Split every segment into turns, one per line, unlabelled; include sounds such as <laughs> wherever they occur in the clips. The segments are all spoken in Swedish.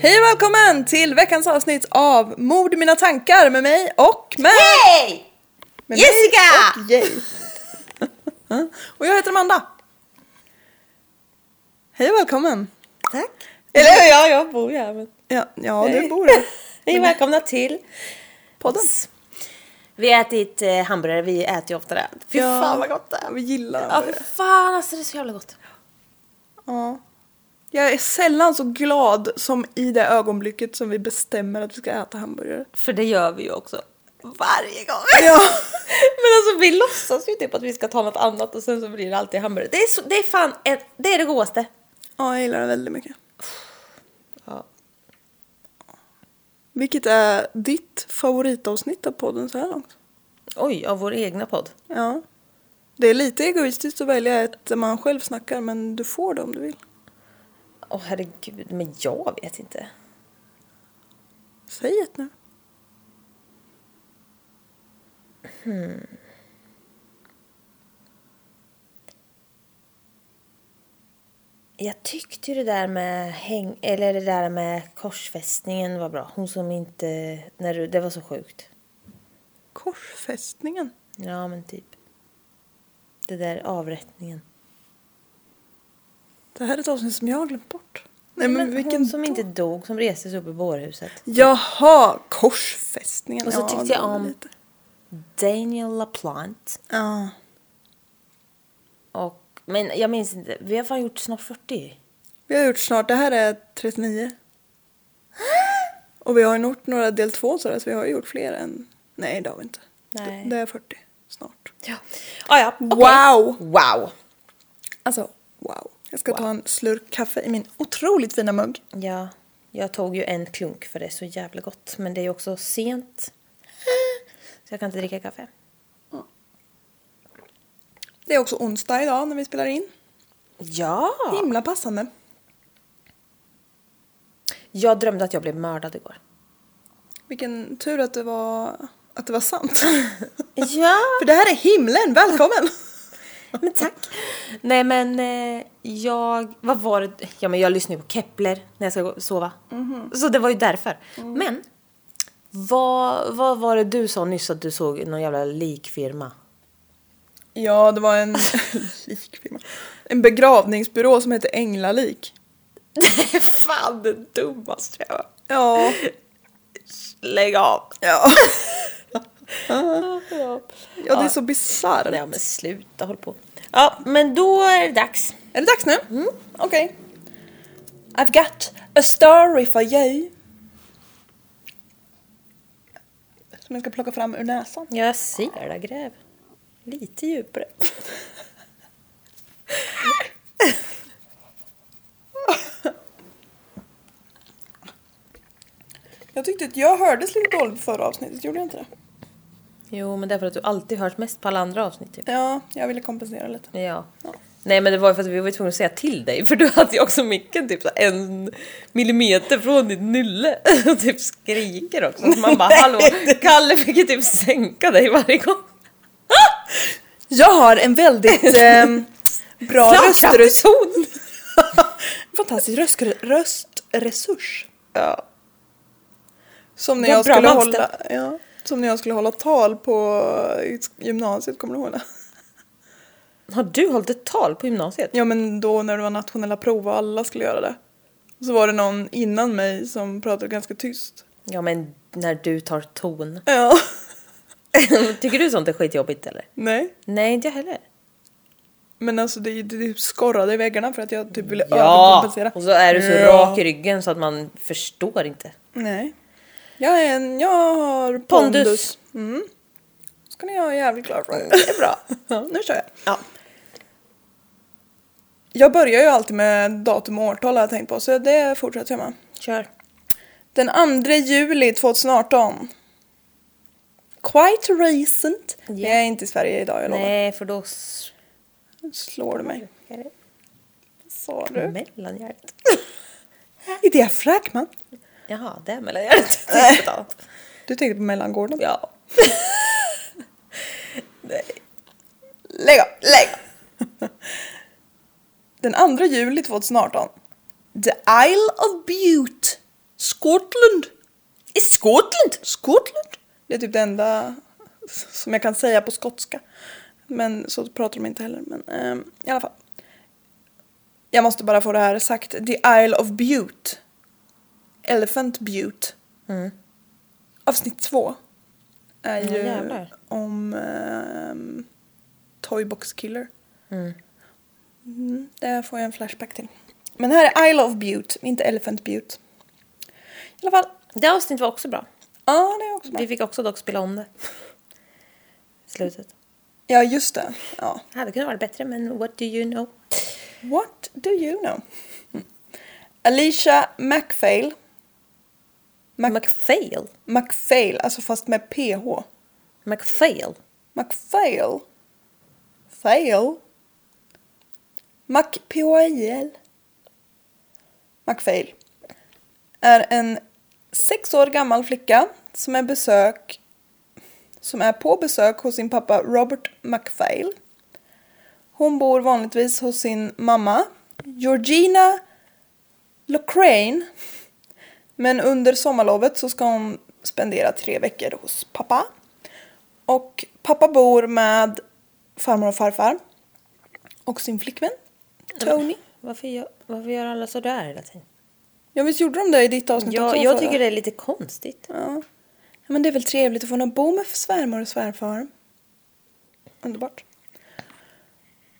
Hej och välkommen till veckans avsnitt av Mord i mina tankar med mig och med...
<laughs>
Hej!
med
Jessica!
Mig och, Jay. <laughs> och jag heter Amanda. Hej och välkommen.
Tack.
Eller hur? Ja, jag bor ju här. Men...
Ja, ja du
<laughs>
bor här.
Hej välkomna till
Podden.
Vi har ätit eh, hamburgare, vi äter ju ofta det. Fy
Ja.
fan vad gott det är.
Vi gillar
Ja,
det.
fy fan alltså det är så jävla gott.
Ja. Jag är sällan så glad som i det ögonblicket som vi bestämmer att vi ska äta hamburgare.
För det gör vi ju också.
Varje <laughs> gång.
Ja.
<laughs> Men alltså vi låtsas ju typ att vi ska ta något annat och sen så blir det alltid hamburgare. Det är, så, det är fan ett, det är det godaste.
ja, jag gillar det väldigt mycket.
Ja.
Vilket är ditt favoritavsnitt av podden så här långt?
Oj, av vår egna podd.
Ja. Det är lite egoistiskt att välja ett där man själv snackar men du får det om du vill.
Åh herregud, men jag vet inte.
Säg ett nu.
Jag tyckte ju det där med häng... Eller det där med korsfästningen var bra. Hon som inte... När du, det var så sjukt.
Korsfästningen.
Ja, men typ. Det där avrättningen.
Det här är ett avsnitt som jag har glömt bort. Nej men, vilken
hon som
då?
inte dog, som reste sig upp i bårhuset.
Jaha, korsfästningen.
Och så tyckte
det
jag
var
om-
lite-
Daniel LaPlante.
Ja.
Och, men jag minns inte, vi har fan gjort snart 40.
Vi har gjort snart, det här är 39. Och vi har ju gjort några del två sådär så vi har ju gjort fler än... Nej det har vi inte.
Nej.
Det, det är 40 snart.
Ja. Ah, ja. okej.
Wow!
Wow!
Alltså wow. Jag ska ta en slurk kaffe i min otroligt fina mugg.
Ja, jag tog ju en klunk för det är så jävla gott. Men det är ju också sent. Så jag kan inte dricka kaffe.
Det är också onsdag idag när vi spelar in.
Ja!
Himla passande.
Jag drömde att jag blev mördad igår.
Vilken tur att det var, att det var sant. <laughs>
Ja!
För det här är himlen, välkommen!
<laughs> Men tack! Nej men eh, jag, vad var det? Ja men jag lyssnar ju på Kepler när jag ska gå- sova. Så det var ju därför. Men, vad, vad var det du sa nyss att du såg någon jävla <laughs> likfirma?
<laughs> Ja, det var <laughs> en likfirma. En begravningsbyrå som heter Änglalik.
Det är fan det dummaste jag har hört.
Ja.
Lägg av!
<laughs> Ja.
Ja.
ja, det är så bisarrt.
ja men sluta håll på. Ja men då är det dags.
Är det dags nu? Okej. I've got a story for you. Som jag ska plocka fram ur näsan.
Jag ser det gräv. Lite djupare.
Jag tyckte att jag hördes lite dåligt på förra avsnittet, gjorde jag inte det?
Jo men det är för att du alltid hörs mest på alla andra avsnitt typ.
Ja, jag ville kompensera lite.
Ja.
Ja.
Nej men det var ju för att vi var tvungna att säga till dig för du hade ju också micken typ så här en millimeter från ditt nylle <laughs> och typ skriker också. Så man bara hallå, Kalle fick ju typ sänka dig varje gång.
Jag har en <laughs> väldigt ehm, bra
Starta
röstresurs.
person!
Fantastisk röstgre- röstresurs.
Ja.
Som när,
Det är
jag
bra
skulle
manstöd.
hålla, ja, som när jag skulle hålla tal på gymnasiet, kommer du ihåg det?
Har du hållit ett tal på gymnasiet?
Ja men då när det var nationella prov och alla skulle göra det. Så var det någon innan mig som pratade ganska tyst.
Ja men när du tar
<laughs>
ton.
Ja.
Tycker du sånt är skitjobbigt eller?
Nej.
Nej inte jag heller.
Men alltså det, det, det skorrade i väggarna för att jag typ ville
Ja!
överkompensera.
Och så är du så
Ja.
rak i ryggen så att man förstår inte.
Nej. Jag är en, jag har pondus.
Pondus. Mm,
Mm. Ska ni ha jävligt klar för er. Det är bra. <laughs> Ja, nu kör jag.
Ja.
Jag börjar ju alltid med datum och årtal har jag tänkt på så det fortsätter jag med.
Kör.
Den 2 juli 2018. Quite recent.
Ja.
Jag är inte i Sverige idag jag lovar.
Nej för då s-
Slår du mig? Sa
Mm.
du?
Mellanhjärt.
I diafragman?
Jaha, det
<laughs>
är mellanhjärt. Det är ett annat.
Du tänkte på mellangården?
ja.
Lägg av, lägg av. <laughs> Den 2 juli 2018. The Isle of Bute Skottland!
I Skottland?
Skottland! Det är typ det enda som jag kan säga på skotska. Men så pratar de inte heller. Men ehm, i alla fall. Jag måste bara få det här sagt. The Isle of Butte. Elephant Butte.
Mm.
Avsnitt två. Är
Ja,
ju
jävlar.
om ehm, Toybox Killer. Mm, det får jag en flashback till. Men det här är Isle of Butte, inte Elephant Butte. I alla fall.
Det avsnittet var också bra.
Ja, det är också bra.
Vi fick också dock spela om det. I Slutet.
Ja, just det. Ja.
Det hade kunnat vara bättre, men what do you know?
What do you know? Alicia MacPhail. Mac-
McFail?
MacPhail, alltså fast med PH.
McFail?
MacPhail. Fail. MacPhail. MacPhail. Är en sex år gammal flicka som är besök som är på besök hos sin pappa Robert MacPhail. Hon bor vanligtvis hos sin mamma Georgina Locrane. Men under sommarlovet så ska hon spendera tre veckor hos pappa. Och pappa bor med farmor och farfar. Och sin flickvän Tony.
Varför gör, varför gör alla sådär hela tiden?
Ja visst gjorde de det i ditt avsnitt
Jag,
också?
jag
förra?
tycker det är lite konstigt.
Ja. ja. Men det är väl trevligt att få bo med svärmor och svärfar. Underbart.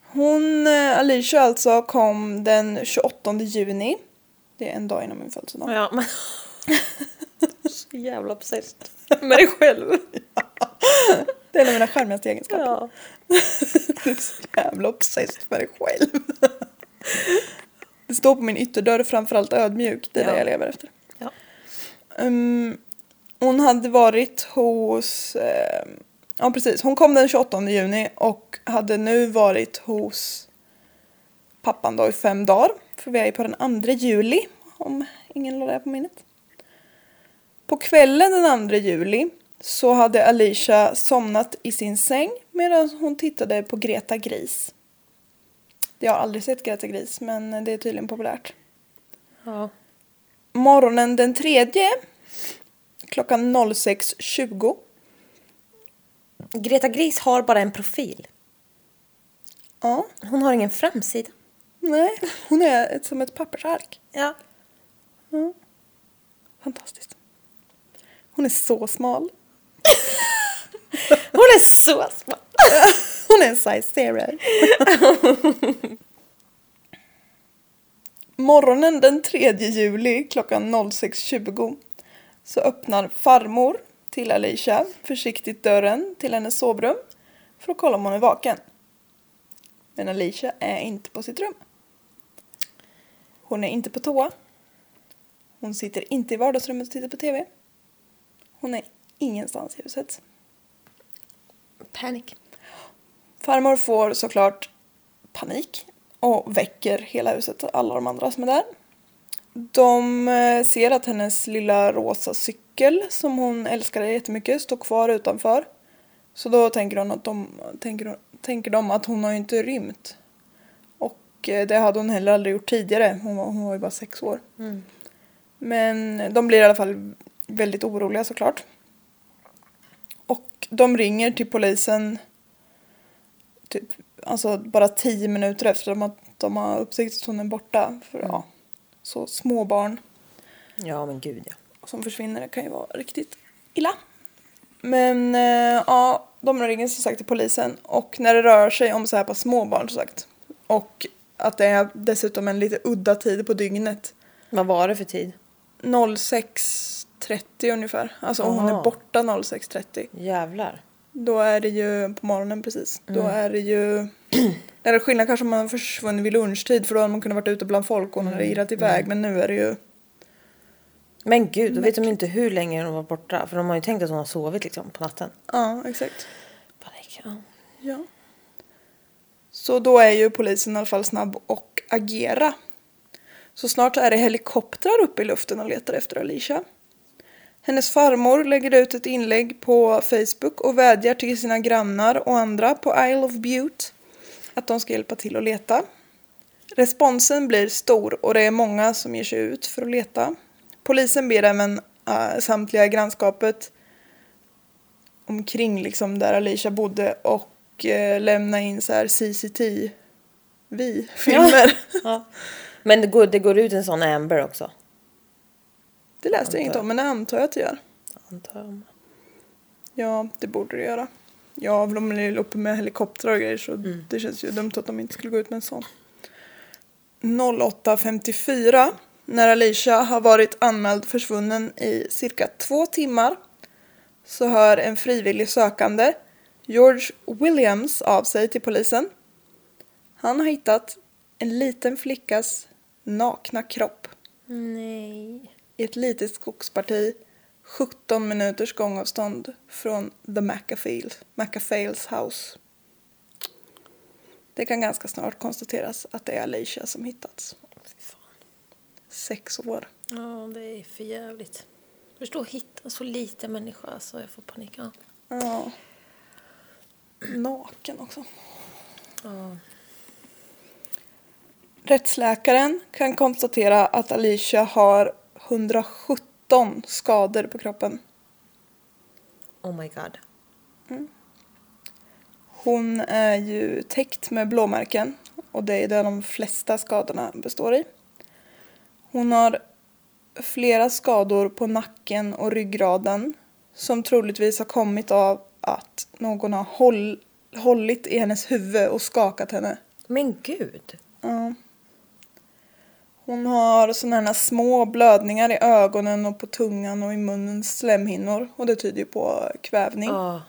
Hon, eh, Alicia alltså, kom den 28 juni. Det är en dag innan min födelsedag.
Ja, men... <laughs> Så jävla obsessed med dig själv.
Det är en av mina charmigaste egenskaper.
Ja.
<laughs> Du är så jävla obsessed med dig själv. Det står på min ytterdörr, framförallt ödmjuk. Det är
Ja.
det jag lever efter.
Ja.
Ehm, hon hade varit hos... ehm, ja, precis. Hon kom den 28 juni och hade nu varit hos pappan då i fem dagar. För vi är ju på den 2 juli, om ingen lade det på minnet. På kvällen den 2 juli så hade Alicia somnat i sin säng medan hon tittade på Greta Gris. Jag har aldrig sett Greta Gris, men det är tydligen populärt.
ja.
Morgonen den tredje klockan 06.20.
Greta Gris har bara en profil.
Ja,
Hon har ingen framsida.
nej, hon är ett, som ett pappersark.
Ja.
Fantastiskt. Hon är så smal.
Hon är så smart.
<laughs> Hon är en size zero. <laughs> Morgonen den 3 juli klockan 06.20 så öppnar farmor till Alicia försiktigt dörren till hennes sovrum för att kolla om hon är vaken. Men Alicia är inte på sitt rum. Hon är inte på toa. Hon sitter inte i vardagsrummet och tittar på TV. Hon är ingenstans i huset.
Panic.
Farmor får såklart panik och väcker hela huset, alla de andra som är där. De eh, ser att hennes lilla rosa cykel som hon älskade jättemycket står kvar utanför. Så då tänker, hon att de, tänker, tänker de att hon har ju inte rymt. Och eh, det hade hon heller aldrig gjort tidigare, hon var, hon var ju bara sex år.
Mm.
Men de blir i alla fall väldigt oroliga såklart. Och de ringer till polisen typ, alltså bara tio minuter efter de har, de har upptäckt att hon är borta. För ja, så små barn
Ja, men gud ja.
som försvinner det kan ju vara riktigt illa. Men eh, ja, de ringer som sagt till polisen och när det rör sig om så här pass små barn som sagt och att det är dessutom en lite udda tid på dygnet.
Vad var det för tid?
06.30 ungefär. Alltså om hon
Aha.
är borta 06.30.
Jävlar.
Då är det ju på morgonen precis. Då är det ju... <clears throat> Det är skillnad kanske om man har försvunnit vid lunchtid för då hade man kunnat varit ute bland folk och hon hade irrat iväg. Men nu är det ju...
Men gud, då vet de inte hur länge hon var borta. För de har ju tänkt att hon har sovit liksom på natten.
Ja, exakt.
Panik. Ja.
Ja. Så då är ju polisen i alla fall snabb och agera. Så snart är det helikoptrar uppe i luften och letar efter Alicia. Hennes farmor lägger ut ett inlägg på Facebook och vädjar till sina grannar och andra på Isle of Butte att de ska hjälpa till att leta. Responsen blir stor och det är många som ger sig ut för att leta. Polisen ber även eh, samtliga i grannskapet omkring liksom där Alicia bodde och eh, lämna in så här CCTV-filmer. <laughs>
Ja. Men det går, det går ut en sån Amber också.
Det läste jag inget om men det antar jag att det gör.
Antar jag.
Ja, det borde det göra. Ja, för de är uppe med helikoptrar och grejer så det känns ju dumt att de inte skulle gå ut med en sån. 08.54 när Alicia har varit anmäld försvunnen i cirka två timmar så hör en frivillig sökande, George Williams, av sig till polisen. Han har hittat en liten flickas nakna kropp
Nej.
i ett litet skogsparti 17 minuters gångavstånd från The McAfeels, McAfeels house. Det kan ganska snart konstateras att det är Alicia som hittats. Sex år.
Ja, det är för jävligt. Förstå hitta så lite människa alltså. Jag får panik. Ja.
Ja. Naken också. Rättsläkaren kan konstatera att Alicia har 117 skador på kroppen.
Oh my god.
Hon är ju täckt med blåmärken och det är där de flesta skadorna består i. Hon har flera skador på nacken och ryggraden som troligtvis har kommit av att någon har håll, hållit i hennes huvud och skakat henne.
Men gud.
Ja. Hon har sådana här små blödningar i ögonen och på tungan och i munnens slemhinnor och det tyder ju på kvävning.
Ja.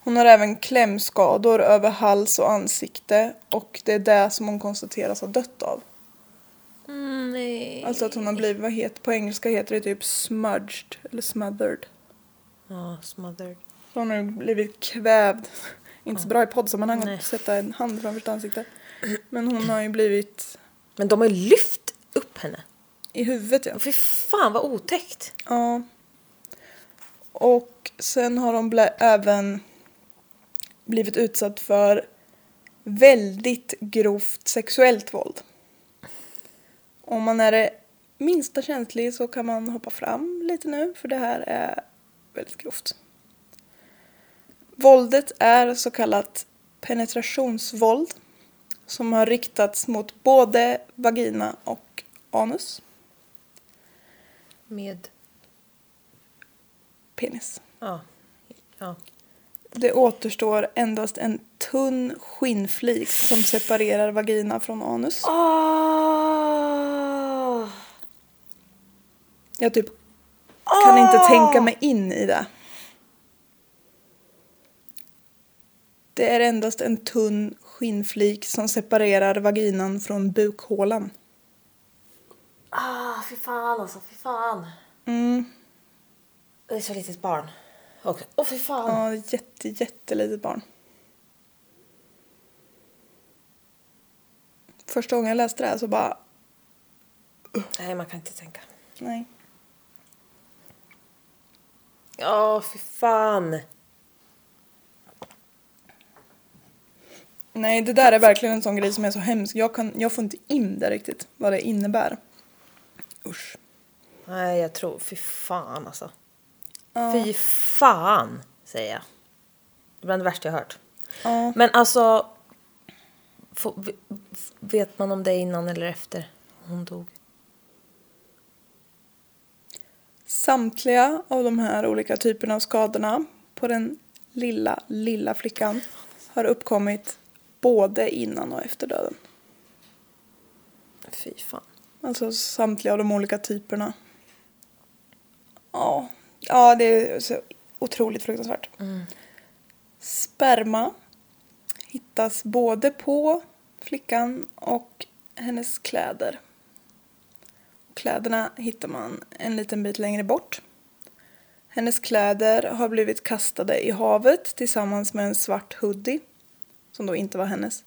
Hon har även klämskador över hals och ansikte och det är det som hon konstateras ha dött av.
Mm, nej.
Alltså att hon har blivit, vad heter, på engelska heter det typ smudged eller smothered.
Ja, smothered.
Så hon har ju blivit kvävd. <laughs> Inte så bra i poddsammanhang
Nej.
att sätta en hand framför sitt ansikte. Men hon har ju blivit
Men de har ju lyft upp henne.
i huvudet ja.
Fy fan vad otäckt.
Ja. Och sen har de blä- även blivit utsatt för väldigt grovt sexuellt våld. Om man är det minsta känslig så kan man hoppa fram lite nu för det här är väldigt grovt. Våldet är så kallat penetrationsvåld som har riktats mot både vagina och anus,
Med...
penis.
Ja. Ja.
Det återstår endast en tunn skinnflik som separerar vagina från anus.
Oh!
Jag typ kan inte tänka mig in i det. Det är endast en tunn skinnflik som separerar vaginan från bukhålan.
Ah, fy fan alltså, fy fan.
Mm.
Det är så litet barn. Och, oh, fy fan.
Ja, jätte, jättelitet barn. Första gången jag läste det här så bara,
Nej, man kan inte tänka.
nej.
Ja, fy fan.
Nej, det där är verkligen en sån grej som är så hemsk. Jag, kan, jag får inte in det riktigt, vad det innebär. Usch.
Nej, jag tror... Fy fan alltså.
Ja.
Fy fan, säger jag. Det är bland det värsta jag har hört.
Ja.
Men alltså... Få, v- f- vet man om det är innan eller efter hon dog?
Samtliga av de här olika typerna av skadorna på den lilla, lilla flickan har uppkommit både innan och efter döden.
Fy fan.
Alltså samtliga av de olika typerna. Ja, ja det är så otroligt fruktansvärt. Sperma hittas både på flickan och hennes kläder. Kläderna hittar man en liten bit längre bort. Hennes kläder har blivit kastade i havet tillsammans med en svart hoodie, som då inte var hennes.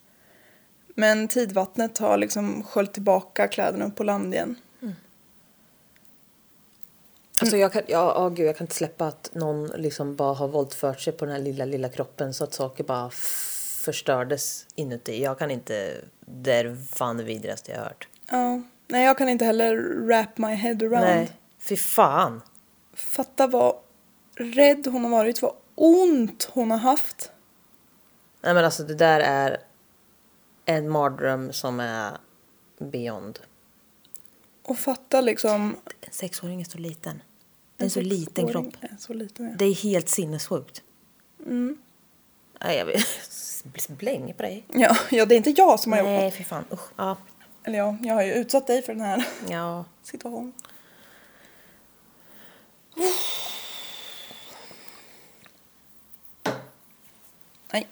Men tidvattnet har liksom sköljt tillbaka kläderna upp på land igen.
Mm.
Alltså jag kan, ja, åh gud, jag kan inte släppa att någon liksom bara har våldfört sig på den här lilla, lilla kroppen så att saker bara f- förstördes inuti. Jag kan inte... Det är fan det vidrigaste jag har hört.
Ja. Nej, jag kan inte heller wrap my head around.
Nej, fy fan.
Fatta vad rädd hon har varit, vad ont hon har haft.
Nej men alltså det där är en mardröm som är beyond.
Och fatta liksom...
En sexåring är så liten. Det är en så liten
sexåring
kropp.
är Så liten, ja.
Det är helt sinnessjukt.
Mm.
Nej, jag vet. <laughs> Jag blir så bläng på dig.
Ja, ja, det är inte jag som har gjort
Nej,
något.
fy fan. Usch. Ja.
Eller ja, jag har ju utsatt dig för den här <laughs>
ja.
situationen. Nej,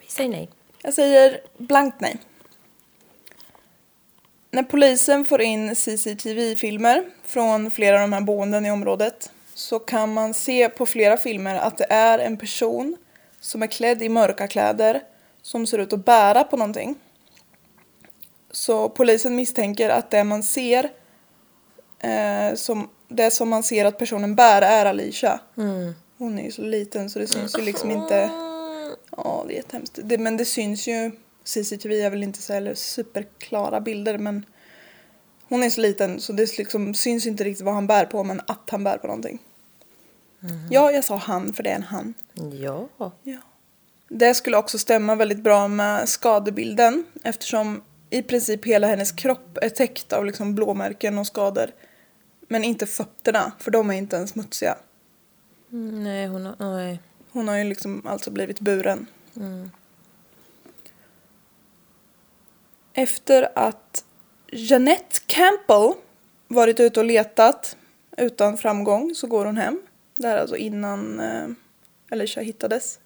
Vi säger nej.
jag säger blankt nej. När polisen får in CCTV-filmer från flera av de här boenden i området så kan man se på flera filmer att det är en person som är klädd i mörka kläder som ser ut att bära på någonting. Så polisen misstänker att det man ser eh, som, det som man ser att personen bär är Alicia.
Mm.
Hon är ju så liten så det syns ju liksom inte. Ja, det är jättehemskt. Det, men det syns ju. CCTV är väl inte så heller superklara bilder men hon är så liten så det liksom syns inte riktigt vad han bär på men att han bär på någonting. Ja, jag sa han för det är en han.
Ja.
Ja. Det skulle också stämma väldigt bra med skadebilden eftersom i princip hela hennes kropp är täckt av liksom blåmärken och skador. Men inte fötterna, för de är inte ens smutsiga.
Nej, hon har... Nej. Mm.
Hon har ju liksom alltså blivit buren. Efter att Jeanette Campbell varit ute och letat utan framgång så går hon hem. Det här är alltså innan eh, Alicia hittades.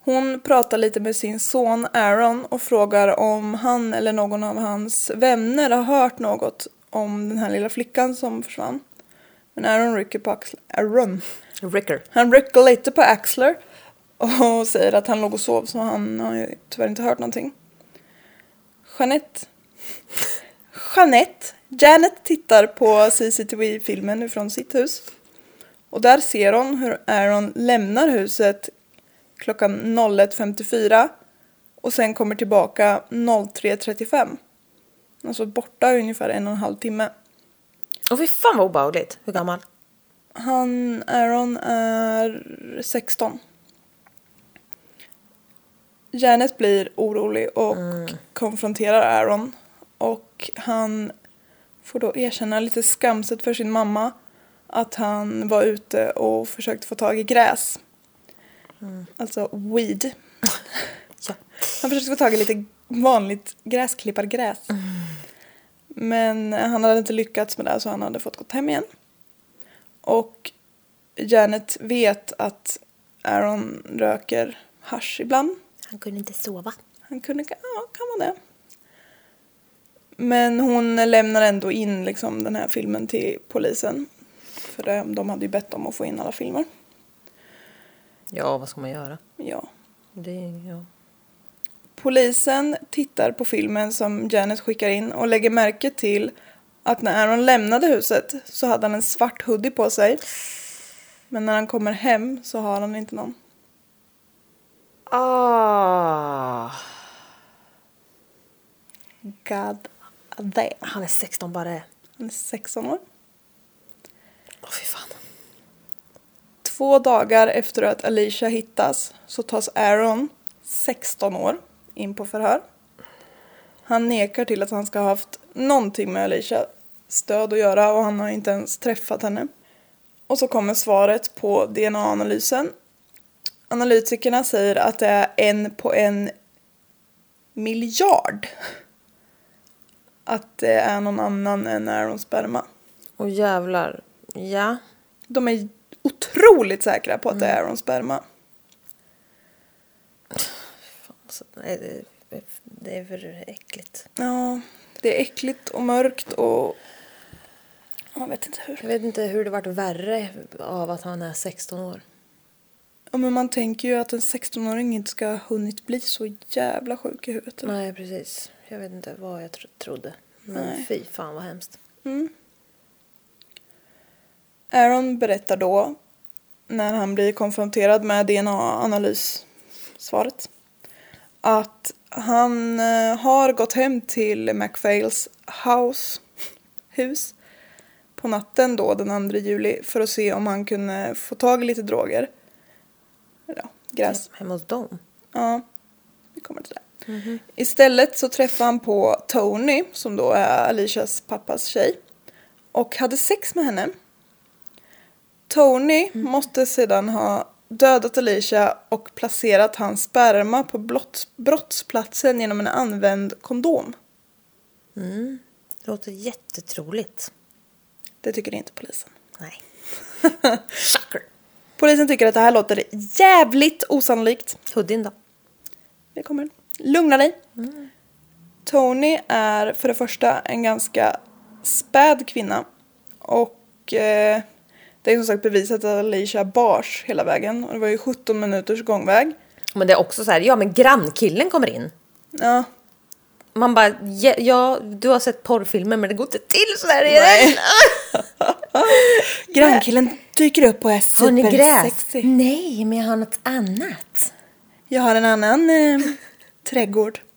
Hon pratar lite med sin son Aaron och frågar om han eller någon av hans vänner har hört något om den här lilla flickan som försvann. Men Aaron rycker på axlarna. Aaron.
Ricker.
Han rycker lite på Axler och säger att han låg och sov så han har ju tyvärr inte hört någonting. Jeanette. Jeanette. Janet tittar på CCTV-filmen ifrån sitt hus. Och där ser hon hur Aaron lämnar huset klockan 01.54 och sen kommer tillbaka 03.35. Alltså borta i ungefär en och en halv timme.
Åh fy fan vad obehagligt. Hur gammal?
Han, Aaron, är 16. Janet blir orolig och
Mm.
konfronterar Aaron. Och han får då erkänna lite skamset för sin mamma att han var ute och försökte få tag i gräs.
Mm.
Alltså
<laughs>
weed.
Ja.
Han försökte få tag i lite vanligt gräsklippargräs. Men han hade inte lyckats med det så han hade fått gå hem igen. Och Janet vet att Aaron röker hasch ibland.
Han kunde inte sova.
Han kunde, ja, kan vara det. Men hon lämnar ändå in liksom, den här filmen till polisen. För det- de hade ju bett om att få in alla filmer.
Ja, vad ska man göra?
Ja.
Det är... Ja.
Polisen tittar på filmen som Janet skickar in och lägger märke till att när Aaron lämnade huset så hade han en svart hoodie på sig. Men när han kommer hem så har han inte någon.
Ah.
God damn.
Han är 16 bara. Åh
Han är 16 år.
fy fan.
Två dagar efter att Alicia hittas så tas Aaron, 16 år, in på förhör. Han nekar till att han ska ha haft någonting med Alicia stöd att göra och han har inte ens träffat henne. Och så kommer svaret på DNA-analysen. Analytikerna säger att det är en på en miljard. Att det är någon annan än Aarons sperma.
Åh jävlar. Ja.
De är otroligt säkra på att det är Aarons sperma.
Alltså, nej, det, är- det är för äckligt.
Ja, det är äckligt och mörkt och... Jag vet inte hur.
Jag vet inte hur det varit värre av att han är 16 år.
Ja, men man tänker ju att en 16-åring inte ska ha hunnit bli så jävla sjuk i huvudet.
Nej, precis. Jag vet inte vad jag tro- trodde. Men
Nej.
fy fan vad hemskt.
Mm. Aaron berättar då, när han blir konfronterad med DNA-analyssvaret, att Han eh, har gått hem till MacPhails house, hus på natten då den 2 juli för att se om han kunde få tag i lite droger. Ja, gräs.
Hemma hos dem?
Ja, vi kommer till det.
Mm-hmm.
Istället så träffade han på Tony, som då är Alicias pappas tjej, och hade sex med henne. Tony måste sedan ha dödat Alicia och placerat hans sperma på blott, brottsplatsen genom en använd kondom.
Det Mm. låter jättetroligt.
Det tycker inte polisen.
<laughs> Nej.
Polisen tycker att det här låter jävligt osannolikt.
Huddin då?
Det kommer. Lugna dig. Tony är för det första en ganska späd kvinna. Och eh, det är som sagt bevisat att Alicia bars hela vägen. Och det var ju 17 minuters gångväg.
Men det är också så här, ja men grannkillen kommer in.
Ja,
Man bara, ja, ja du har sett porrfilmer men det går inte till så här
Nej.
igen.
Grannkillen dyker upp och är
Har ni gräs?
supersexig.
Nej, men jag har något annat.
Jag har en annan <laughs> eh, trädgård. <laughs>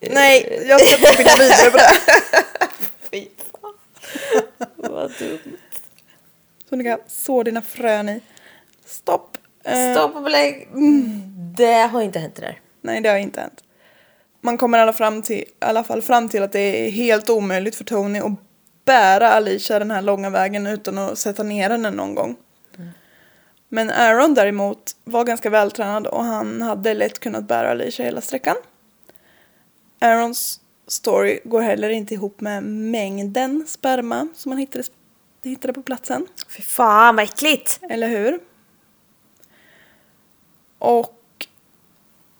Nej, jag ska inte spinna vidare på det. <laughs>
Vad dumt.
Som du kan så dina frön i. Stopp. Eh,
Stopp och belägg. Mm. Det har inte hänt det där.
Nej, det har inte hänt. Man kommer i alla, fram till, i alla fall fram till att det är helt omöjligt för Tony att bära Alicia den här långa vägen utan att sätta ner henne någon gång. Men Aaron däremot var ganska vältränad och han hade lätt kunnat bära Alicia hela sträckan. Aarons story går heller inte ihop med mängden sperma som han hittade, hittade på platsen.
Fy fan vad äckligt.
Eller hur? Och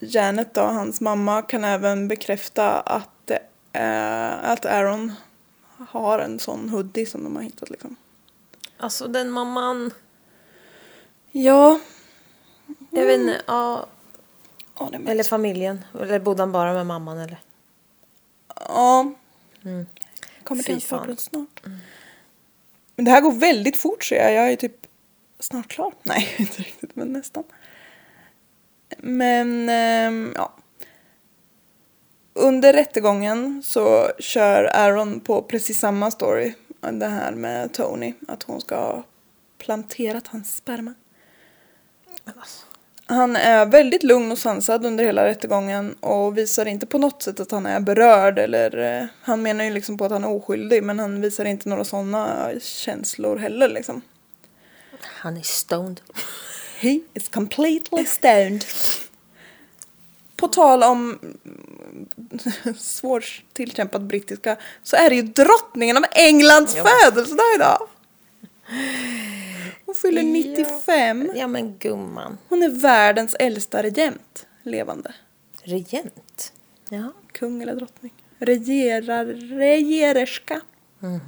Janet då, hans mamma, kan även bekräfta att, det är, att Aaron har en sån hoodie som de har hittat liksom.
Alltså den mamman.
Ja.
Jag vet inte, ja.
Mm. Ja, det är
Mm. Eller familjen. Eller bodde han bara med mamman eller?
ja. Kommer
Mm. Fy
till hans
fan. Mm.
bakgrund snart. Men det här går väldigt fort ser jag. Jag är typ snart klar. <laughs> Nej, inte riktigt, men nästan. Men, ehm, ja. Under rättegången så kör Aaron på precis samma story. Det här med Tony, att hon ska ha planterat hans sperma.
alltså,
Han är väldigt lugn och sansad under hela rättegången och visar inte på något sätt att han är berörd eller eh, han menar ju liksom på att han är oskyldig men han visar inte några sådana känslor heller liksom.
Han är stoned.
He is completely stoned. På tal om mm, svårt tillkämpad brittiska så är det ju drottningen av Englands födelsedag idag. Hon fyller 95.
Ja men gumman.
Hon är världens äldsta regent levande.
Regent. Ja.
Kung eller drottning. Regerar, regererska. Mm,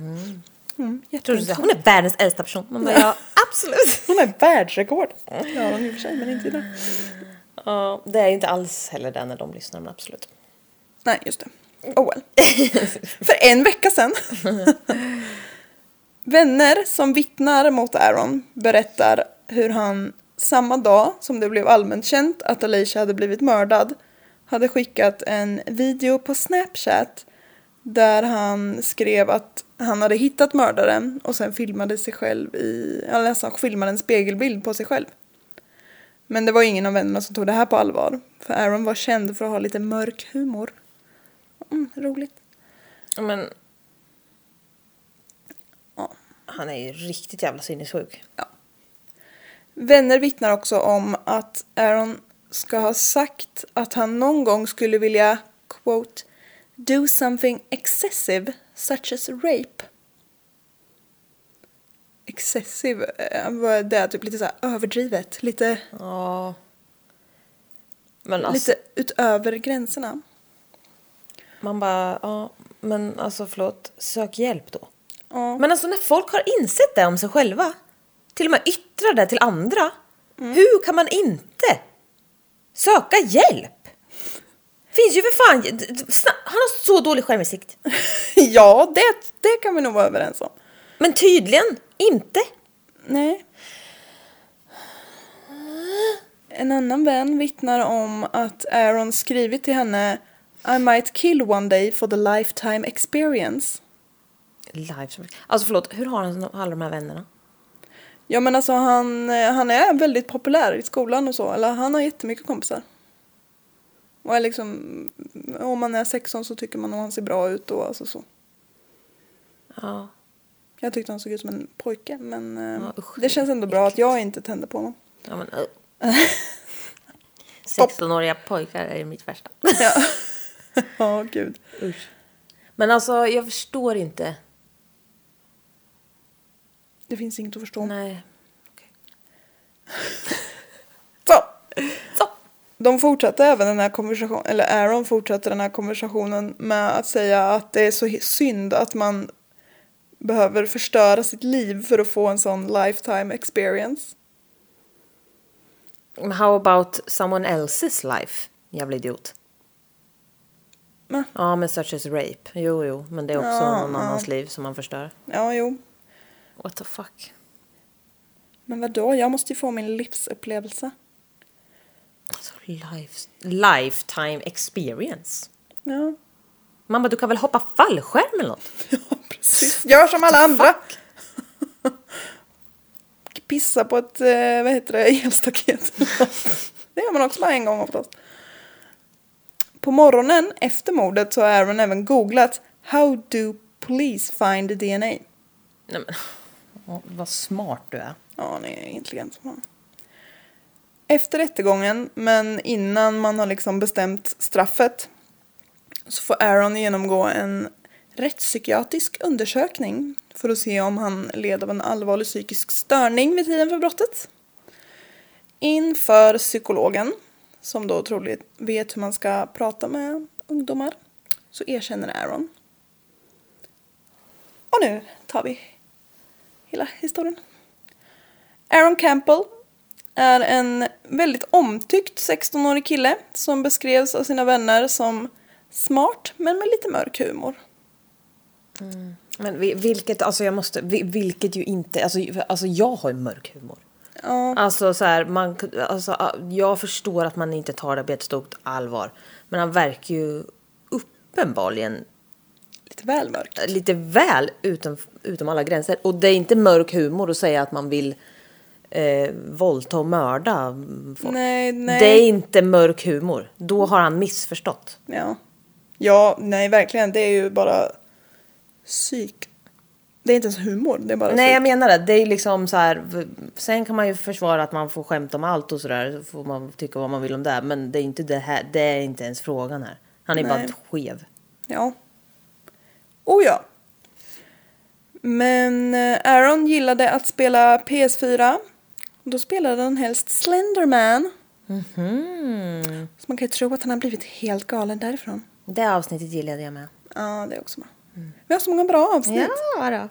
Tror du Mhm. det?
jätteintressant.
Hon är världens äldsta person. Man bara, ja <laughs> absolut.
Hon är världsrekord. Ja, hon i och för sig, men inte idag.
Ja, det är ju inte alls heller det när de lyssnar men absolut.
Nej, just det. Oh well. <laughs> För en vecka sedan. Vänner som vittnar mot Aaron berättar hur han samma dag som det blev allmänt känt att Alicia hade blivit mördad hade skickat en video på Snapchat där han skrev att han hade hittat mördaren och sen filmade sig själv i, eller nästan filmade en spegelbild på sig själv. Men det var ingen av vännerna som tog det här på allvar. För Aaron var känd för att ha lite mörk humor. Mm, roligt.
Men
Ja.
han är ju riktigt jävla sinnessjuk.
Vänner vittnar också om att Aaron ska ha sagt att han någon gång skulle vilja quote, do something excessive such as rape. Excessive, eh, vad är det? Typ lite så här överdrivet, lite,
Ja. Men alltså,
lite utöver gränserna.
man bara, ja men alltså förlåt, sök hjälp då.
Ja. <laughs>
Men alltså när folk har insett det om sig själva, till och med yttrar det till andra, hur kan man inte söka hjälp? Finns ju för fan, sna- han har så dålig skärminsikt.
ja, det, det kan vi nog vara överens om.
Men tydligen inte.
Nej. En annan vän vittnar om att Aaron skrivit till henne I might kill one day for the lifetime experience.
Live som... Alltså förlåt, hur har han alla de här vännerna?
Ja men alltså han, eh, han är väldigt populär i skolan och så. Eller han har jättemycket kompisar. Och är liksom, om man är 16 så tycker man nog han ser bra ut och alltså så.
Ja.
Jag tyckte han såg ut som en pojke men eh,
Ja, usch,
det känns ändå bra att jag inte tände på
<laughs>
honom.
ja men, uh. <laughs> 16-åriga pojkar är mitt värsta.
Ja, <laughs> Ja, gud.
Men alltså jag förstår inte.
Det finns inget att förstå.
Nej. Okej.
Så!
Så.
De fortsatte även den här konversationen, eller Aaron fortsatte den här konversationen med att säga att det är så hi- synd att man behöver förstöra sitt liv för att få en sån lifetime experience.
How about someone else's life? Jävla idiot.
Va?
Ja, men such as rape. Jo, jo, men det är också
Ja,
någon
ja.
annans liv som man förstör.
Ja, jo.
What the fuck?
Men vadå, jag måste ju få min livsupplevelse.
Alltså, life, lifetime experience.
Ja,
Man bara, du kan väl hoppa fallskärm eller något?
precis. Gör som alla andra! <laughs> Pissa på ett, eh, vad heter det, elstaket. <laughs> det gör man också bara en gång oftast. På morgonen efter mordet så har Aaron även googlat How do police find DNA?
Nej, men. Åh, vad smart du är.
Ja, han är intelligent som fan. Efter rättegången, men innan man har liksom bestämt straffet så får Aaron genomgå en rättspsykiatrisk undersökning för att se om han led av en allvarlig psykisk störning vid tiden för brottet. Inför psykologen, som då troligt vet hur man ska prata med ungdomar, så erkänner Aaron. Och nu tar vi hela historien. Aaron Campbell är en väldigt omtyckt 16-årig kille som beskrevs av sina vänner som smart men med lite mörk humor.
Men vi- vilket, alltså jag måste, vi- vilket ju inte, alltså, ju- alltså jag har ju mörk humor.
Ja,
Alltså så här, man, alltså, ah, jag förstår att man inte tar det på ett stort allvar. Men han verkar ju uppenbarligen
lite väl mörk.
lite väl utom, utom alla gränser. Och det är inte mörk humor att säga att man vill eh, våldta och mörda folk.
Nej, nej.
Det är inte mörk humor. Då har han missförstått.
Ja. ja, nej verkligen. Det är ju bara psyk. Det är inte ens humor, det är bara
Nej,
psyk.
jag menar det. Det är liksom så här. v- Sen kan man ju försvara att man får skämta om allt och sådär. Så får man tycka vad man vill om det. Men det är inte det här. Det är inte ens frågan här. Han är
Nej.
bara skev.
Ja. Oh ja. Men eh, Aaron gillade att spela PS4. Då spelade han helst Slenderman. Så man kan ju tro att han har blivit helt galen därifrån.
Det avsnittet gillade jag med.
Ja, det är också med. Vi har så många bra avsnitt.
Mm. Ja då.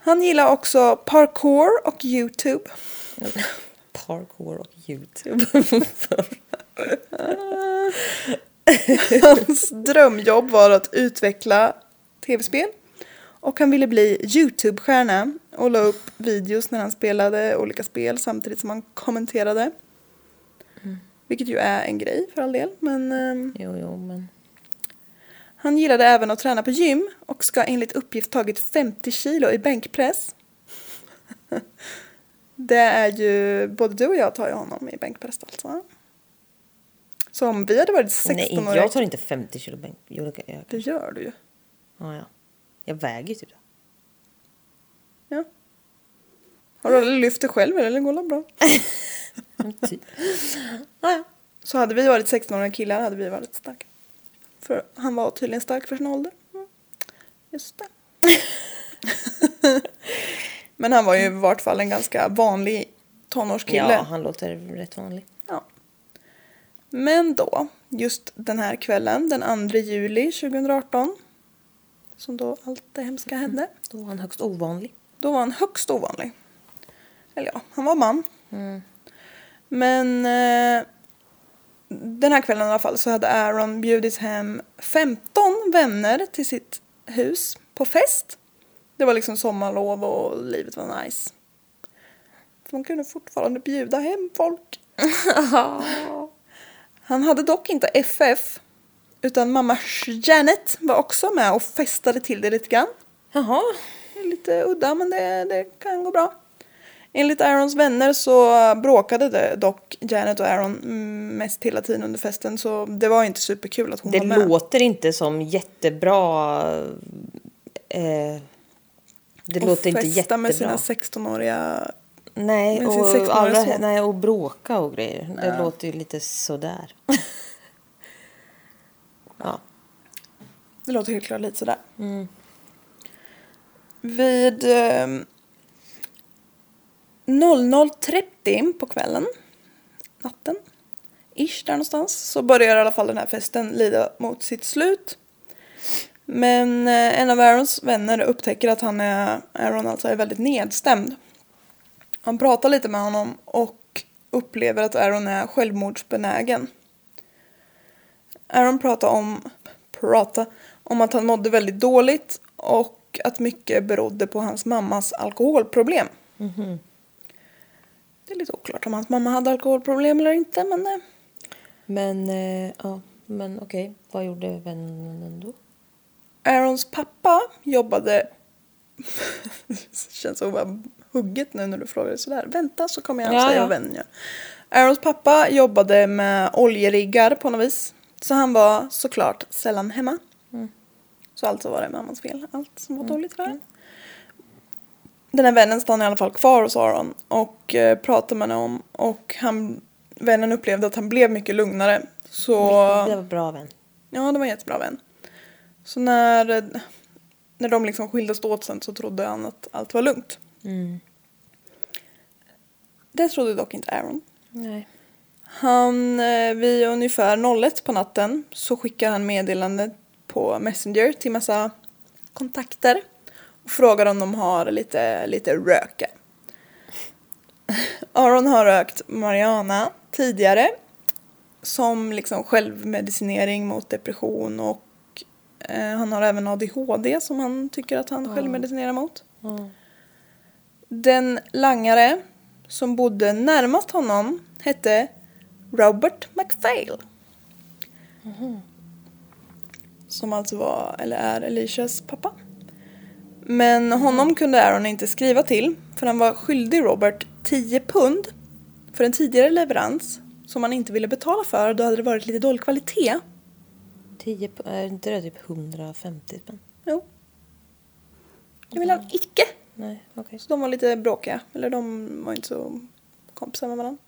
Han gillar också parkour och
<laughs>
YouTube.
Parkour och YouTube.
Hans drömjobb var att utveckla tv-spel. Och han ville bli YouTube-stjärna och la upp videos när han spelade olika spel samtidigt som han kommenterade.
Mm.
Vilket ju är en grej för all del. Men ehm,
jo, jo, men.
han gillade även att träna på gym och ska enligt uppgift tagit 50 kilo i bänkpress. <laughs> Det är ju, både du och jag tar ju honom i bänkpress alltså. Så om vi hade varit 16
Nej,
år
inte- jag tar inte 50 kilo bänk. Jo, det kan jag.
Det gör du ju.
Ja, ja. Jag väger ju typ det.
Ja. Har du aldrig lyft det själv eller går det bra?
Men
<laughs>
Typ. ja, ja.
Så hade vi varit 16-åriga killar hade vi varit starka. För han var tydligen stark för sin ålder. Mm.
<laughs>
Just det. Men han var ju i vart fall en ganska vanlig tonårskille.
ja, han låter rätt vanlig.
Ja. Men då, just den här kvällen, den 2 juli 2018, som då allt det hemska hände,
Då är han högst ovanlig.
Då var han högst ovanlig. Eller ja, han var man.
Mm.
Men eh, den här kvällen i alla fall så hade Aaron bjudit hem 15 vänner till sitt hus på fest. Det var liksom sommarlov och livet var nice. Så man kunde fortfarande bjuda hem folk. Han hade dock inte FF, utan mamma Janet var också med och festade till det lite grann.
Jaha.
Det är lite udda men det, det kan gå bra. Enligt Aarons vänner så bråkade det dock Janet och Aaron mm, mest hela tiden under festen så det var inte superkul att hon
Det
var med.
låter inte som jättebra... Eh, det
och
låter inte
festa
jättebra.
med sina 16-åriga...
Nej,
med sin
och,
16-åriga
alla,
son.
nej, och bråka och grejer. Det låter ju
<laughs>
lite sådär. ja.
Det låter helt klart lite sådär. Vid ehm, 00.30 på kvällen, natten, ish där någonstans, så börjar i alla fall den här festen lida mot sitt slut. Men eh, en av Aarons vänner upptäcker att han är, Aaron alltså är väldigt nedstämd. Han pratar lite med honom och upplever att Aaron är självmordsbenägen. Aaron pratar om, prata, om att han mådde väldigt dåligt och att mycket berodde på hans mammas alkoholproblem. Det är lite oklart om hans mamma hade alkoholproblem eller inte men eh,
Men, eh, ja. Men okej, vad gjorde vännen då?
Aarons pappa jobbade... <laughs> det känns som bara hugget nu när du frågar det sådär. Vänta så kommer jag
Ja,
säga
ja.
vad vännen gör. Aarons pappa jobbade med oljeriggar på något vis. Så han var såklart sällan hemma. Så alltså var det mammans fel, allt som var dåligt för mm. Den här vännen stannade i alla fall kvar hos Aron och eh, pratade med honom och han, vännen upplevde att han blev mycket lugnare. Så...
Det var bra vän.
Ja, det var en jättebra vän. Så när, när de liksom skildes åt sen så trodde han att allt var lugnt.
Mm.
Det trodde dock inte Aaron.
Nej.
Han, eh, vid ungefär 01 på natten så skickar han meddelande på Messenger till massa kontakter och frågar om de har lite, lite röka. <laughs> Aron har rökt Mariana tidigare som liksom självmedicinering mot depression och eh, han har även ADHD som han tycker att han självmedicinerar mot. Den langare som bodde närmast honom hette Robert MacPhail. Som alltså var, eller är, Elishas pappa. Men honom kunde Aaron inte skriva till för han var skyldig Robert 10 pund för en tidigare leverans som han inte ville betala för. Då hade det varit lite dålig kvalitet.
10, p- är inte det typ 150 spänn?
Jo. Det ville han icke.
Nej, okej.
Så de var lite bråkiga. Eller de var inte så kompisar med varandra.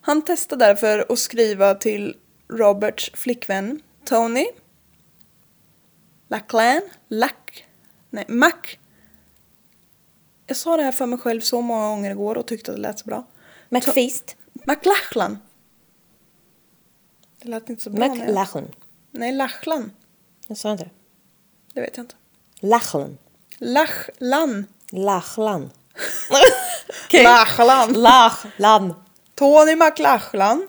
Han testade därför att skriva till Roberts flickvän Tony. Lachlan. Lack. Nej, Mac. Jag sa det här för mig själv så många gånger igår och tyckte att det lät så bra.
McFeast.
McLachlan. Det lät inte så bra. när jag-
McLachlan.
Nej, Lachlan.
Jag sa inte det.
Det vet jag inte.
Lachlan.
Lachlan.
<laughs> Lachlan.
Okay. Lachlan.
Lachlan.
Tony McLachlan.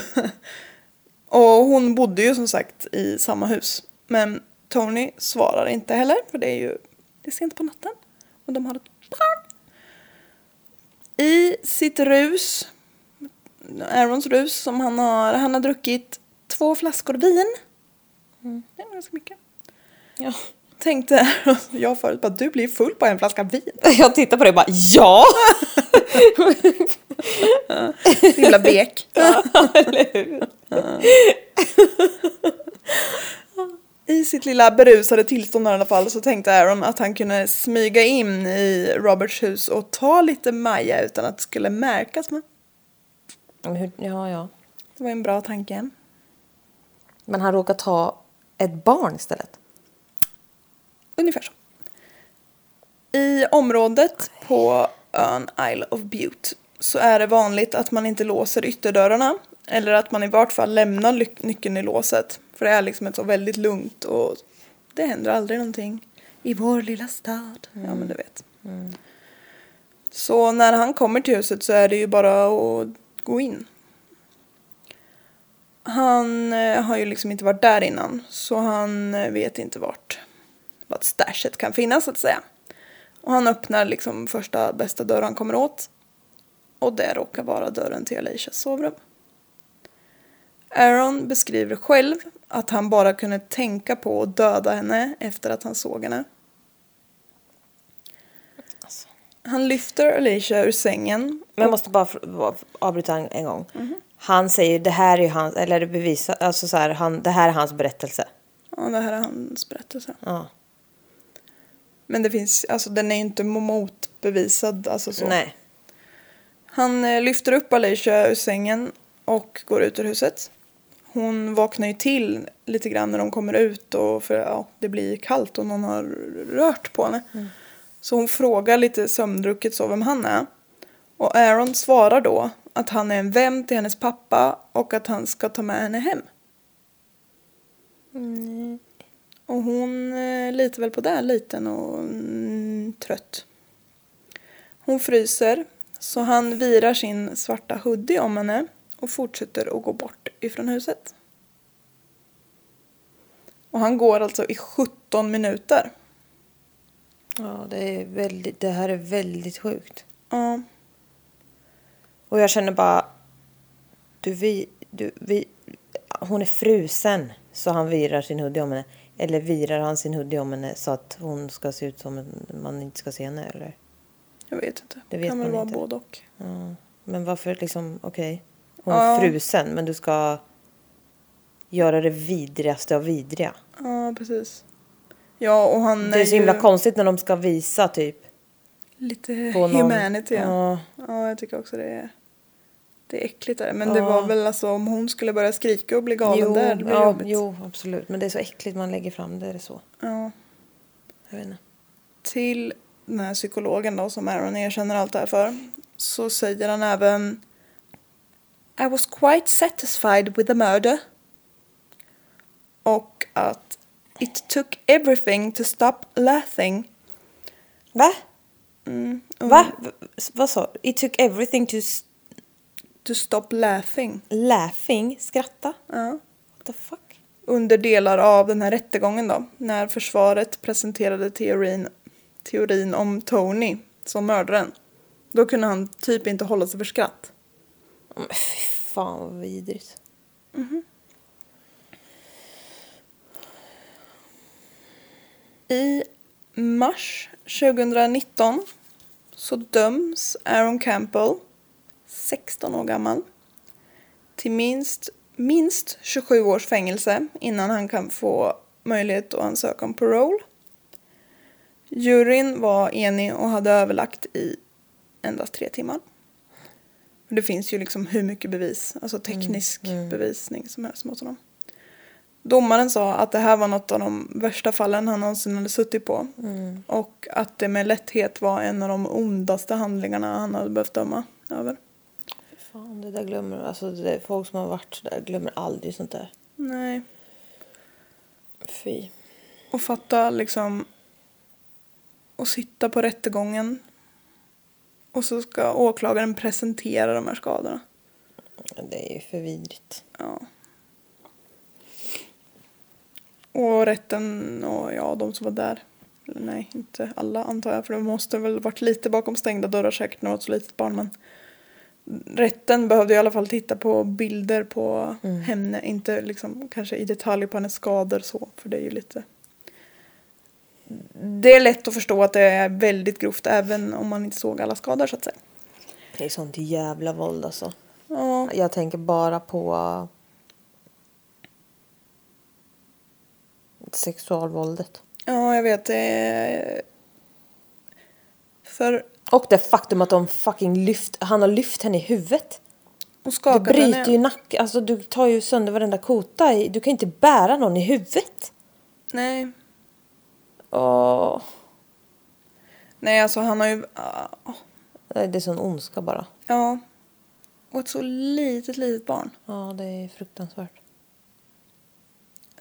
<laughs> och hon bodde ju som sagt i samma hus. Men Tony svarar inte heller för det är ju det är sent på natten och de har ett barn. I sitt rus, Aarons rus som han har, han har druckit två flaskor vin. Mm, Det var ganska mycket.
Ja.
Tänkte Aaron, jag förut bara du blir full på en flaska vin.
<laughs> Jag tittar på dig och bara ja!
Så himla vek. <laughs> I sitt lilla berusade tillstånd i alla fall så tänkte Aaron att han kunde smyga in i Roberts hus och ta lite Maja utan att det skulle märkas. Men
Men hur- Ja, ja.
det var ju en bra tanke.
Men han råkar ta ett barn istället.
Ungefär så. I området på ön Isle of Bute så är det vanligt att man inte låser ytterdörrarna eller att man i vart fall lämnar lyck- nyckeln i låset. För det är liksom ett så väldigt lugnt och det händer aldrig någonting i vår lilla stad. Ja men du vet. Så när han kommer till huset så är det ju bara att gå in. Han eh, har ju liksom inte varit där innan så han eh, vet inte vart, vart stashet kan finnas så att säga. Och han öppnar liksom första bästa dörr han kommer åt. och det råkar vara dörren till Alicias sovrum. Aaron beskriver själv att han bara kunde tänka på att döda henne efter att han såg henne. Han lyfter Alicia ur sängen.
Alltså. Men jag måste bara fr- avbryta en, en gång. Han säger det här är ju hans, eller det bevisar, alltså så här, han, det här är hans berättelse.
Ja, det här är hans berättelse.
Ja.
Men det finns, alltså den är ju inte motbevisad. Alltså så.
Nej.
Han eh, lyfter upp Alicia ur sängen och går ut ur huset. Hon vaknar ju till lite grann när de kommer ut och för ja, det blir kallt och någon har rört på henne. Så hon frågar lite sömndrucket så vem han är. Och Aaron svarar då att han är en vän till hennes pappa och att han ska ta med henne hem.
Mm,
Och hon eh, litar väl på det, liten och mm, trött. Hon fryser, så han virar sin svarta hoodie om henne och fortsätter att gå bort ifrån huset. Och han går alltså i 17 minuter.
Ja, det, är väldigt, det här är väldigt sjukt.
Ja,
Och jag känner bara... Du, vi, du, vi, hon är frusen, så han virar sin hoodie om henne. Eller virar han sin hoodie om henne så att hon ska se ut som en, man inte ska se henne? Eller?
jag vet inte.
Det vet
kan väl
man
vara
inte.
både och.
Ja. Men varför liksom, okej. Hon är
Ja.
frusen, men du ska göra det vidrigaste av vidriga.
Ja, precis. Ja, och han
det är så himla
ju
konstigt när de ska visa typ.
lite
På någon.
humanity. Ja.
Ja.
ja, jag tycker också det är, det är äckligt där. Men det
Ja.
var väl alltså om hon skulle börja skrika och bli galen
Jo,
där, det blir
ja,
jobbigt.
jo, absolut. Men det är så äckligt man lägger fram det. Är det så?
Ja.
Jag vet inte.
till den här psykologen då som Aaron erkänner allt det här för så säger han även I was quite satisfied with the murder. Och att it took everything to stop laughing.
Va?
Mm. och
Va? V- Vad sa du? It took everything to s-
To stop laughing.
laughing, skratta.
Ja.
What the fuck?
Under delar av den här rättegången då när försvaret presenterade teorin, teorin om Tony som mördaren. Då kunde han typ inte hålla sig för skratt.
Ja, Men Mm, fy fan vad vidrigt.
I mars 2019 så döms Aaron Campbell, 16 år gammal, till minst, minst 27 års fängelse innan han kan få möjlighet att ansöka om parole. Juryn var enig och hade överlagt i endast tre timmar. Och Det finns ju liksom hur mycket bevis, alltså teknisk bevisning som helst mot honom. Domaren sa att det här var något av de värsta fallen han någonsin hade suttit på.
Mm.
Och att det med lätthet var en av de ondaste handlingarna han hade behövt döma över.
Fy Fan, det där glömmer alltså det är folk som har varit så där glömmer aldrig sånt där.
Nej.
Fy.
Och fatta liksom... Och sitta på rättegången. Och så ska åklagaren presentera de här skadorna.
Det är ju för vidrigt.
Ja. Och rätten och ja, de som var där. Eller nej, inte alla antar jag, för det måste väl varit lite bakom stängda dörrar säkert när det var ett så litet barn. Men rätten behövde i alla fall titta på bilder på henne, inte liksom kanske i detalj på hennes skador så, för det är ju lite. Det är lätt att förstå att det är väldigt grovt även om man inte såg alla skador så att säga.
Det är sånt jävla våld alltså.
Ja,
Jag tänker bara på äh, sexualvåldet.
ja jag vet det. är- För
Och det faktum att de fucking lyft, han har lyft henne i huvudet.
Och
Du
skakade
bryter
henne.
ju nacken, alltså du tar ju sönder varenda kota. i- Du kan inte bära någon i huvudet.
Nej.
Åh.
Nej, alltså han har ju... ah,
Nej, Det är sån ondska bara.
Ja. Och ett så litet, litet barn.
Ja, det är fruktansvärt.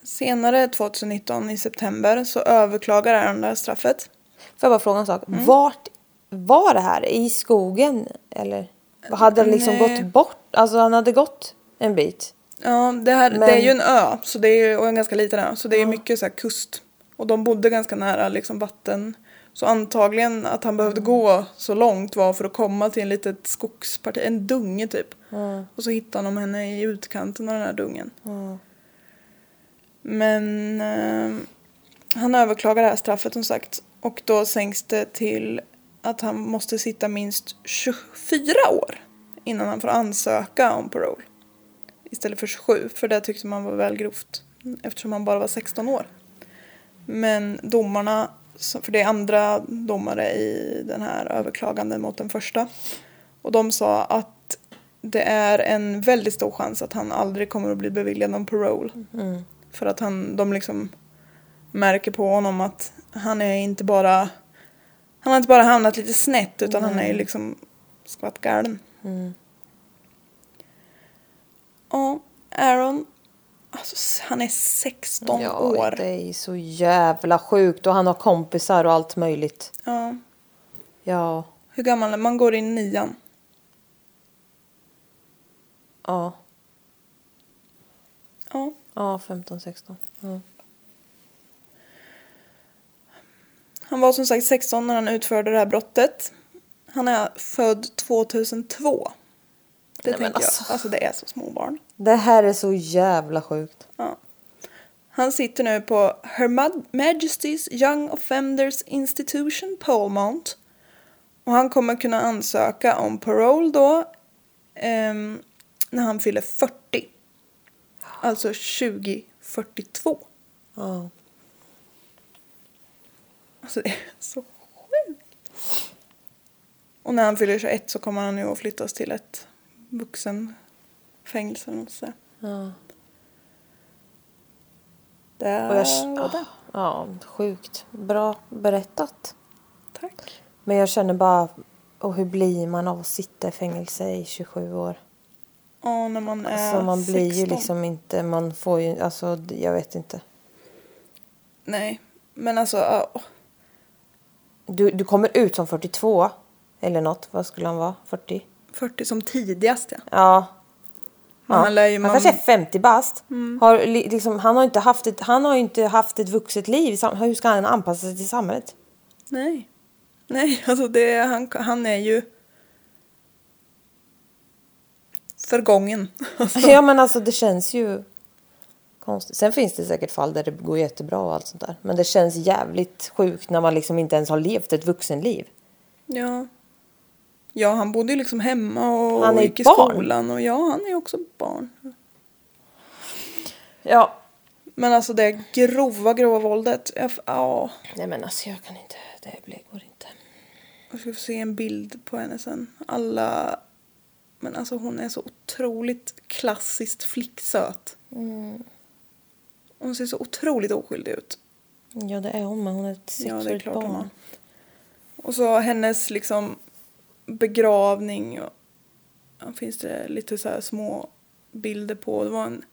Senare 2019 i september så överklagar Aaron det här straffet.
Får jag bara fråga en sak? Vart var det här? I skogen? Eller? Hade han liksom
Nej.
gått bort? Alltså han hade gått en bit.
Ja, det här det är
Men-
ju en ö så det är, ju- och en ganska liten ö, så det är mycket så här kust. Och de bodde ganska nära liksom vatten. Så antagligen att han behövde
Mm.
gå så långt var för att komma till en litet skogsparti, en dunge typ. Och så hittade de henne i utkanten av den här dungen. Men eh, han överklagar det här straffet som sagt och då sänks det till att han måste sitta minst 24 år innan han får ansöka om parole. Istället för 27, för det tyckte man var väl grovt eftersom han bara var 16 år. Men domarna, så- för det är andra domare i den här överklaganden mot den första. Och de sa att det är en väldigt stor chans att han aldrig kommer att bli beviljad någon parole.
Mm,
För att han, de liksom märker på honom att han är inte bara han har inte bara hamnat lite snett utan han är ju liksom skvattgalen.
mm.
Ja, Aaron, alltså han är 16 år.
det är ju så jävla sjukt och han har kompisar och allt möjligt.
Ja.
Ja,
Hur gammal är man? Man går in nian.
ja,
Ja.
ja, 15, 16. Ja.
Han var som sagt 16 när han utförde det här brottet. Han är född 2002. Det
men
tänker jag.
alltså.
Alltså det är så små barn.
Det här är så jävla sjukt.
Ja. Han sitter nu på Her Ma- Majesty's Young Offenders Institution Polmont. Och han kommer kunna ansöka om parole då ehm, när han fyller 40. Alltså 2042.
Ja.
Alltså det är så sjukt. Och när han fyller 21 så kommer han nu att flyttas till ett vuxenfängelse. eller något sånt där. Där
Och jag, ah.
var det.
ja, ja, sjukt. Bra berättat.
Tack.
Men jag känner bara, och hur blir man av att sitta i fängelse i 27 år?
Ja, när man är
Alltså man blir
16.
ju liksom inte, man får ju, alltså d- jag vet inte.
Nej, men alltså... ja.
Du, du kommer ut som 42 eller något, vad skulle han vara? 40?
40 som tidigast ja.
Ja.
Men han lär ju man- Mm.
kanske är 50 bast. Har, li- liksom, han, har inte haft ett, han har ju inte haft ett vuxet liv. i sam- Hur ska han anpassa sig till samhället?
Nej. Nej, <laughs> alltså det, är- han, han är ju... Förgången. <laughs> Alltså,
Ja men alltså det känns ju konstigt. Sen finns det säkert fall där det går jättebra och allt sånt där. Men det känns jävligt sjukt när man liksom inte ens har levt ett vuxenliv.
Ja. Ja, han bodde ju liksom hemma och
Han är
gick i
barn.
skolan. Och ja, han är också barn.
Ja.
Men alltså det grova, grova våldet. Jag, f- ja,
Nej men alltså jag kan inte, det blir- går inte.
jag ska få se en bild på henne sen. Alla... Men alltså hon är så otroligt klassiskt flicksöt. Hon ser så otroligt oskyldig ut.
Ja det är hon men hon är ett
Ja, det är
sexårigt
klart hon har.
barn.
Och så hennes liksom begravning. Och, ja, finns det lite så här små bilder på. Det var en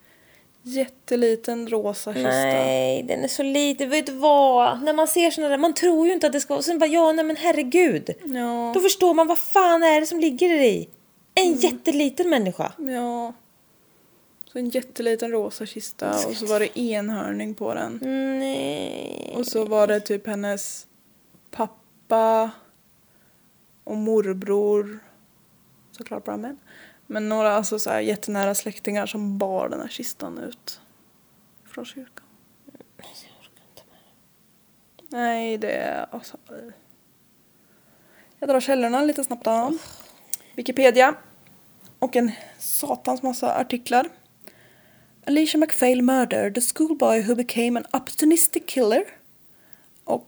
jätteliten rosa kista.
Nej, den är så liten. Vet du vad? När man ser såna där, man tror ju inte att det ska vara... Sen bara, ja, nej men herregud.
Ja.
Då förstår man, vad fan är det som ligger där i? En jätteliten människa.
Ja. Så en jätteliten rosa kista och så var det enhörning på den.
Mm, Nej.
Och så var det typ hennes pappa och morbror. Såklart bara män. Men några alltså så här jättenära släktingar som bar den här kistan ut från kyrkan. Nej, det är alltså... Jag drar källorna lite snabbt då. Wikipedia. Och en satans massa artiklar. Alicia MacPhail murder, the schoolboy who became an opportunistic killer. Och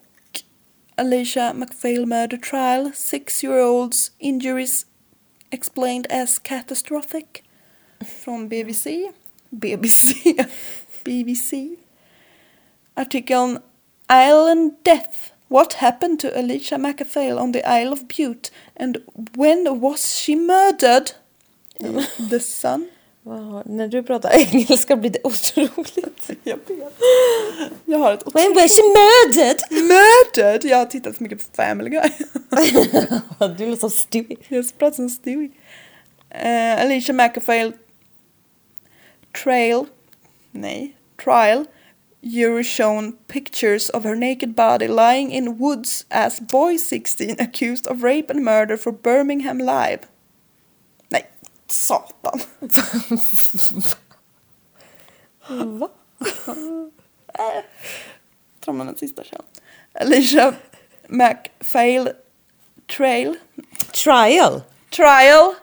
Alicia MacPhail murder trial, six year olds injuries explained as catastrophic. Från BBC. <laughs> BBC. BBC. Artikeln Island Death. What happened to Alicia MacPhail on the Isle of Bute and when was she murdered? I The Sun.
Vad har- När du pratar <laughs> engelska blir det otroligt.
Jag vet. Jag har ett
When
otroligt...
was she murdered?
Murdered! Jag har tittat så mycket på Family Guy.
du låter som Stewie.
Jag pratar som Stewie. Eh, Alicia McAfail Trail... Nej. Trial you were shown pictures of her naked body lying in woods as boy 16 accused of rape and murder for Birmingham Live. Nej, satan. <laughs> Va? Äh, Tar man en sista sen. Alicia MacPhail Trail
Trial.
Trial.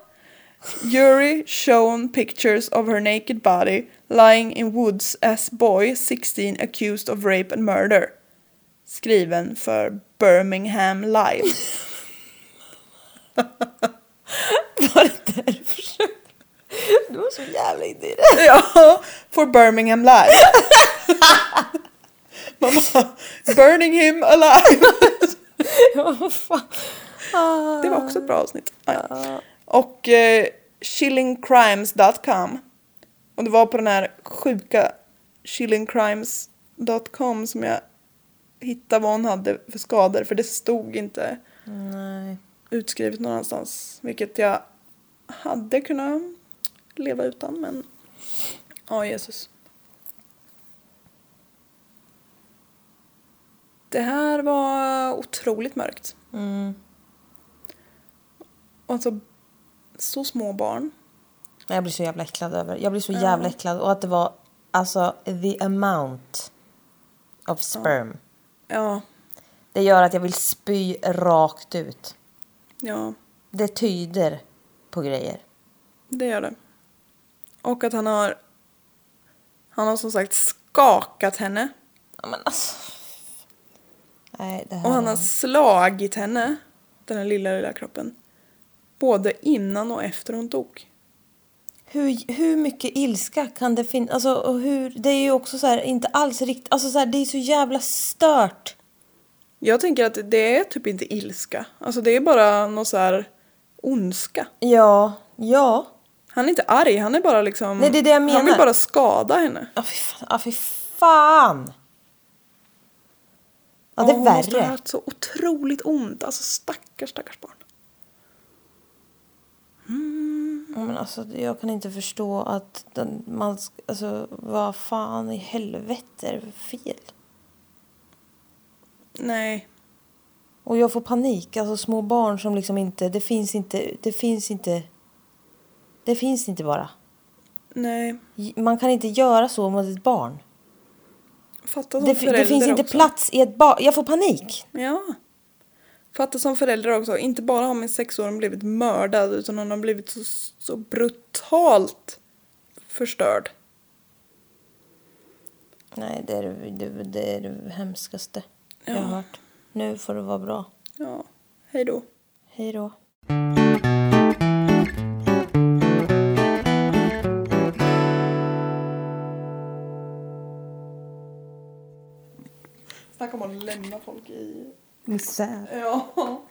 Yuri shown pictures of her naked body lying in woods as boy 16 accused of rape and murder. Skriven för Birmingham Live.
Var det därför? Du var så jävla inne i det.
ja, för Birmingham Live. Man bara, burning him alive.
Ja, vad fan. Ah.
Det var också ett bra avsnitt. Ah, ja. Och eh, chillingcrimes.com. Och det var på den här sjuka chillingcrimes.com som jag hittade vad hon hade för skador. För det stod inte
Nej.
utskrivet någonstans. Vilket jag hade kunnat leva utan men... Ja, Jesus. Det här var otroligt mörkt.
Mm.
Och alltså, så små barn.
Jag blir så jävla äcklad över. Jag blir så jävla äcklad. Och att det var alltså the amount of sperm.
Ja,
Det gör att jag vill spy rakt ut.
ja,
Det tyder på grejer.
det gör det. Och att han har... Han har som sagt skakat henne.
Ja, men alltså. Nej, det här
Och han
var-
har slagit henne, den här lilla, lilla kroppen. Både innan och efter hon dog.
hur, hur mycket ilska kan det finnas? Alltså, och hur... Det är ju också så här, inte alls riktigt... Alltså, så här, det är så jävla stört.
Jag tänker att det är typ inte ilska. Alltså det är bara någon så här ondska.
Ja, ja.
Han är inte arg, han är bara liksom...
Nej, det är det jag
Han vill
menar.
bara skada henne.
Ja, fy fan. Ja, fy fan. Ja, det är
hon måste ha
värre.
haft så otroligt ont. Alltså stackars, stackars barn. Mm,
Ja, Men alltså, jag kan inte förstå att den, man... sk- Alltså, vad fan i helvete är det för fel?
Nej.
Och jag får panik. Alltså små barn som liksom inte... Det finns inte... Det finns inte... Det finns inte bara.
Nej.
J- Man kan inte göra så mot ett barn.
Fatta som
Det, fi-
förälder
det finns inte
också.
plats i ett barn. Jag får panik.
Ja. Fatta som förälder också. Inte bara har min sexåring blivit mördad utan hon har blivit så, så brutalt förstörd.
Nej, det är det, det, det, är det hemskaste jag
Ja.
har hört. Nu får det vara bra.
Ja. Hej då.
Hej då.
Snacka om att lämna folk i...
Misär.
Ja.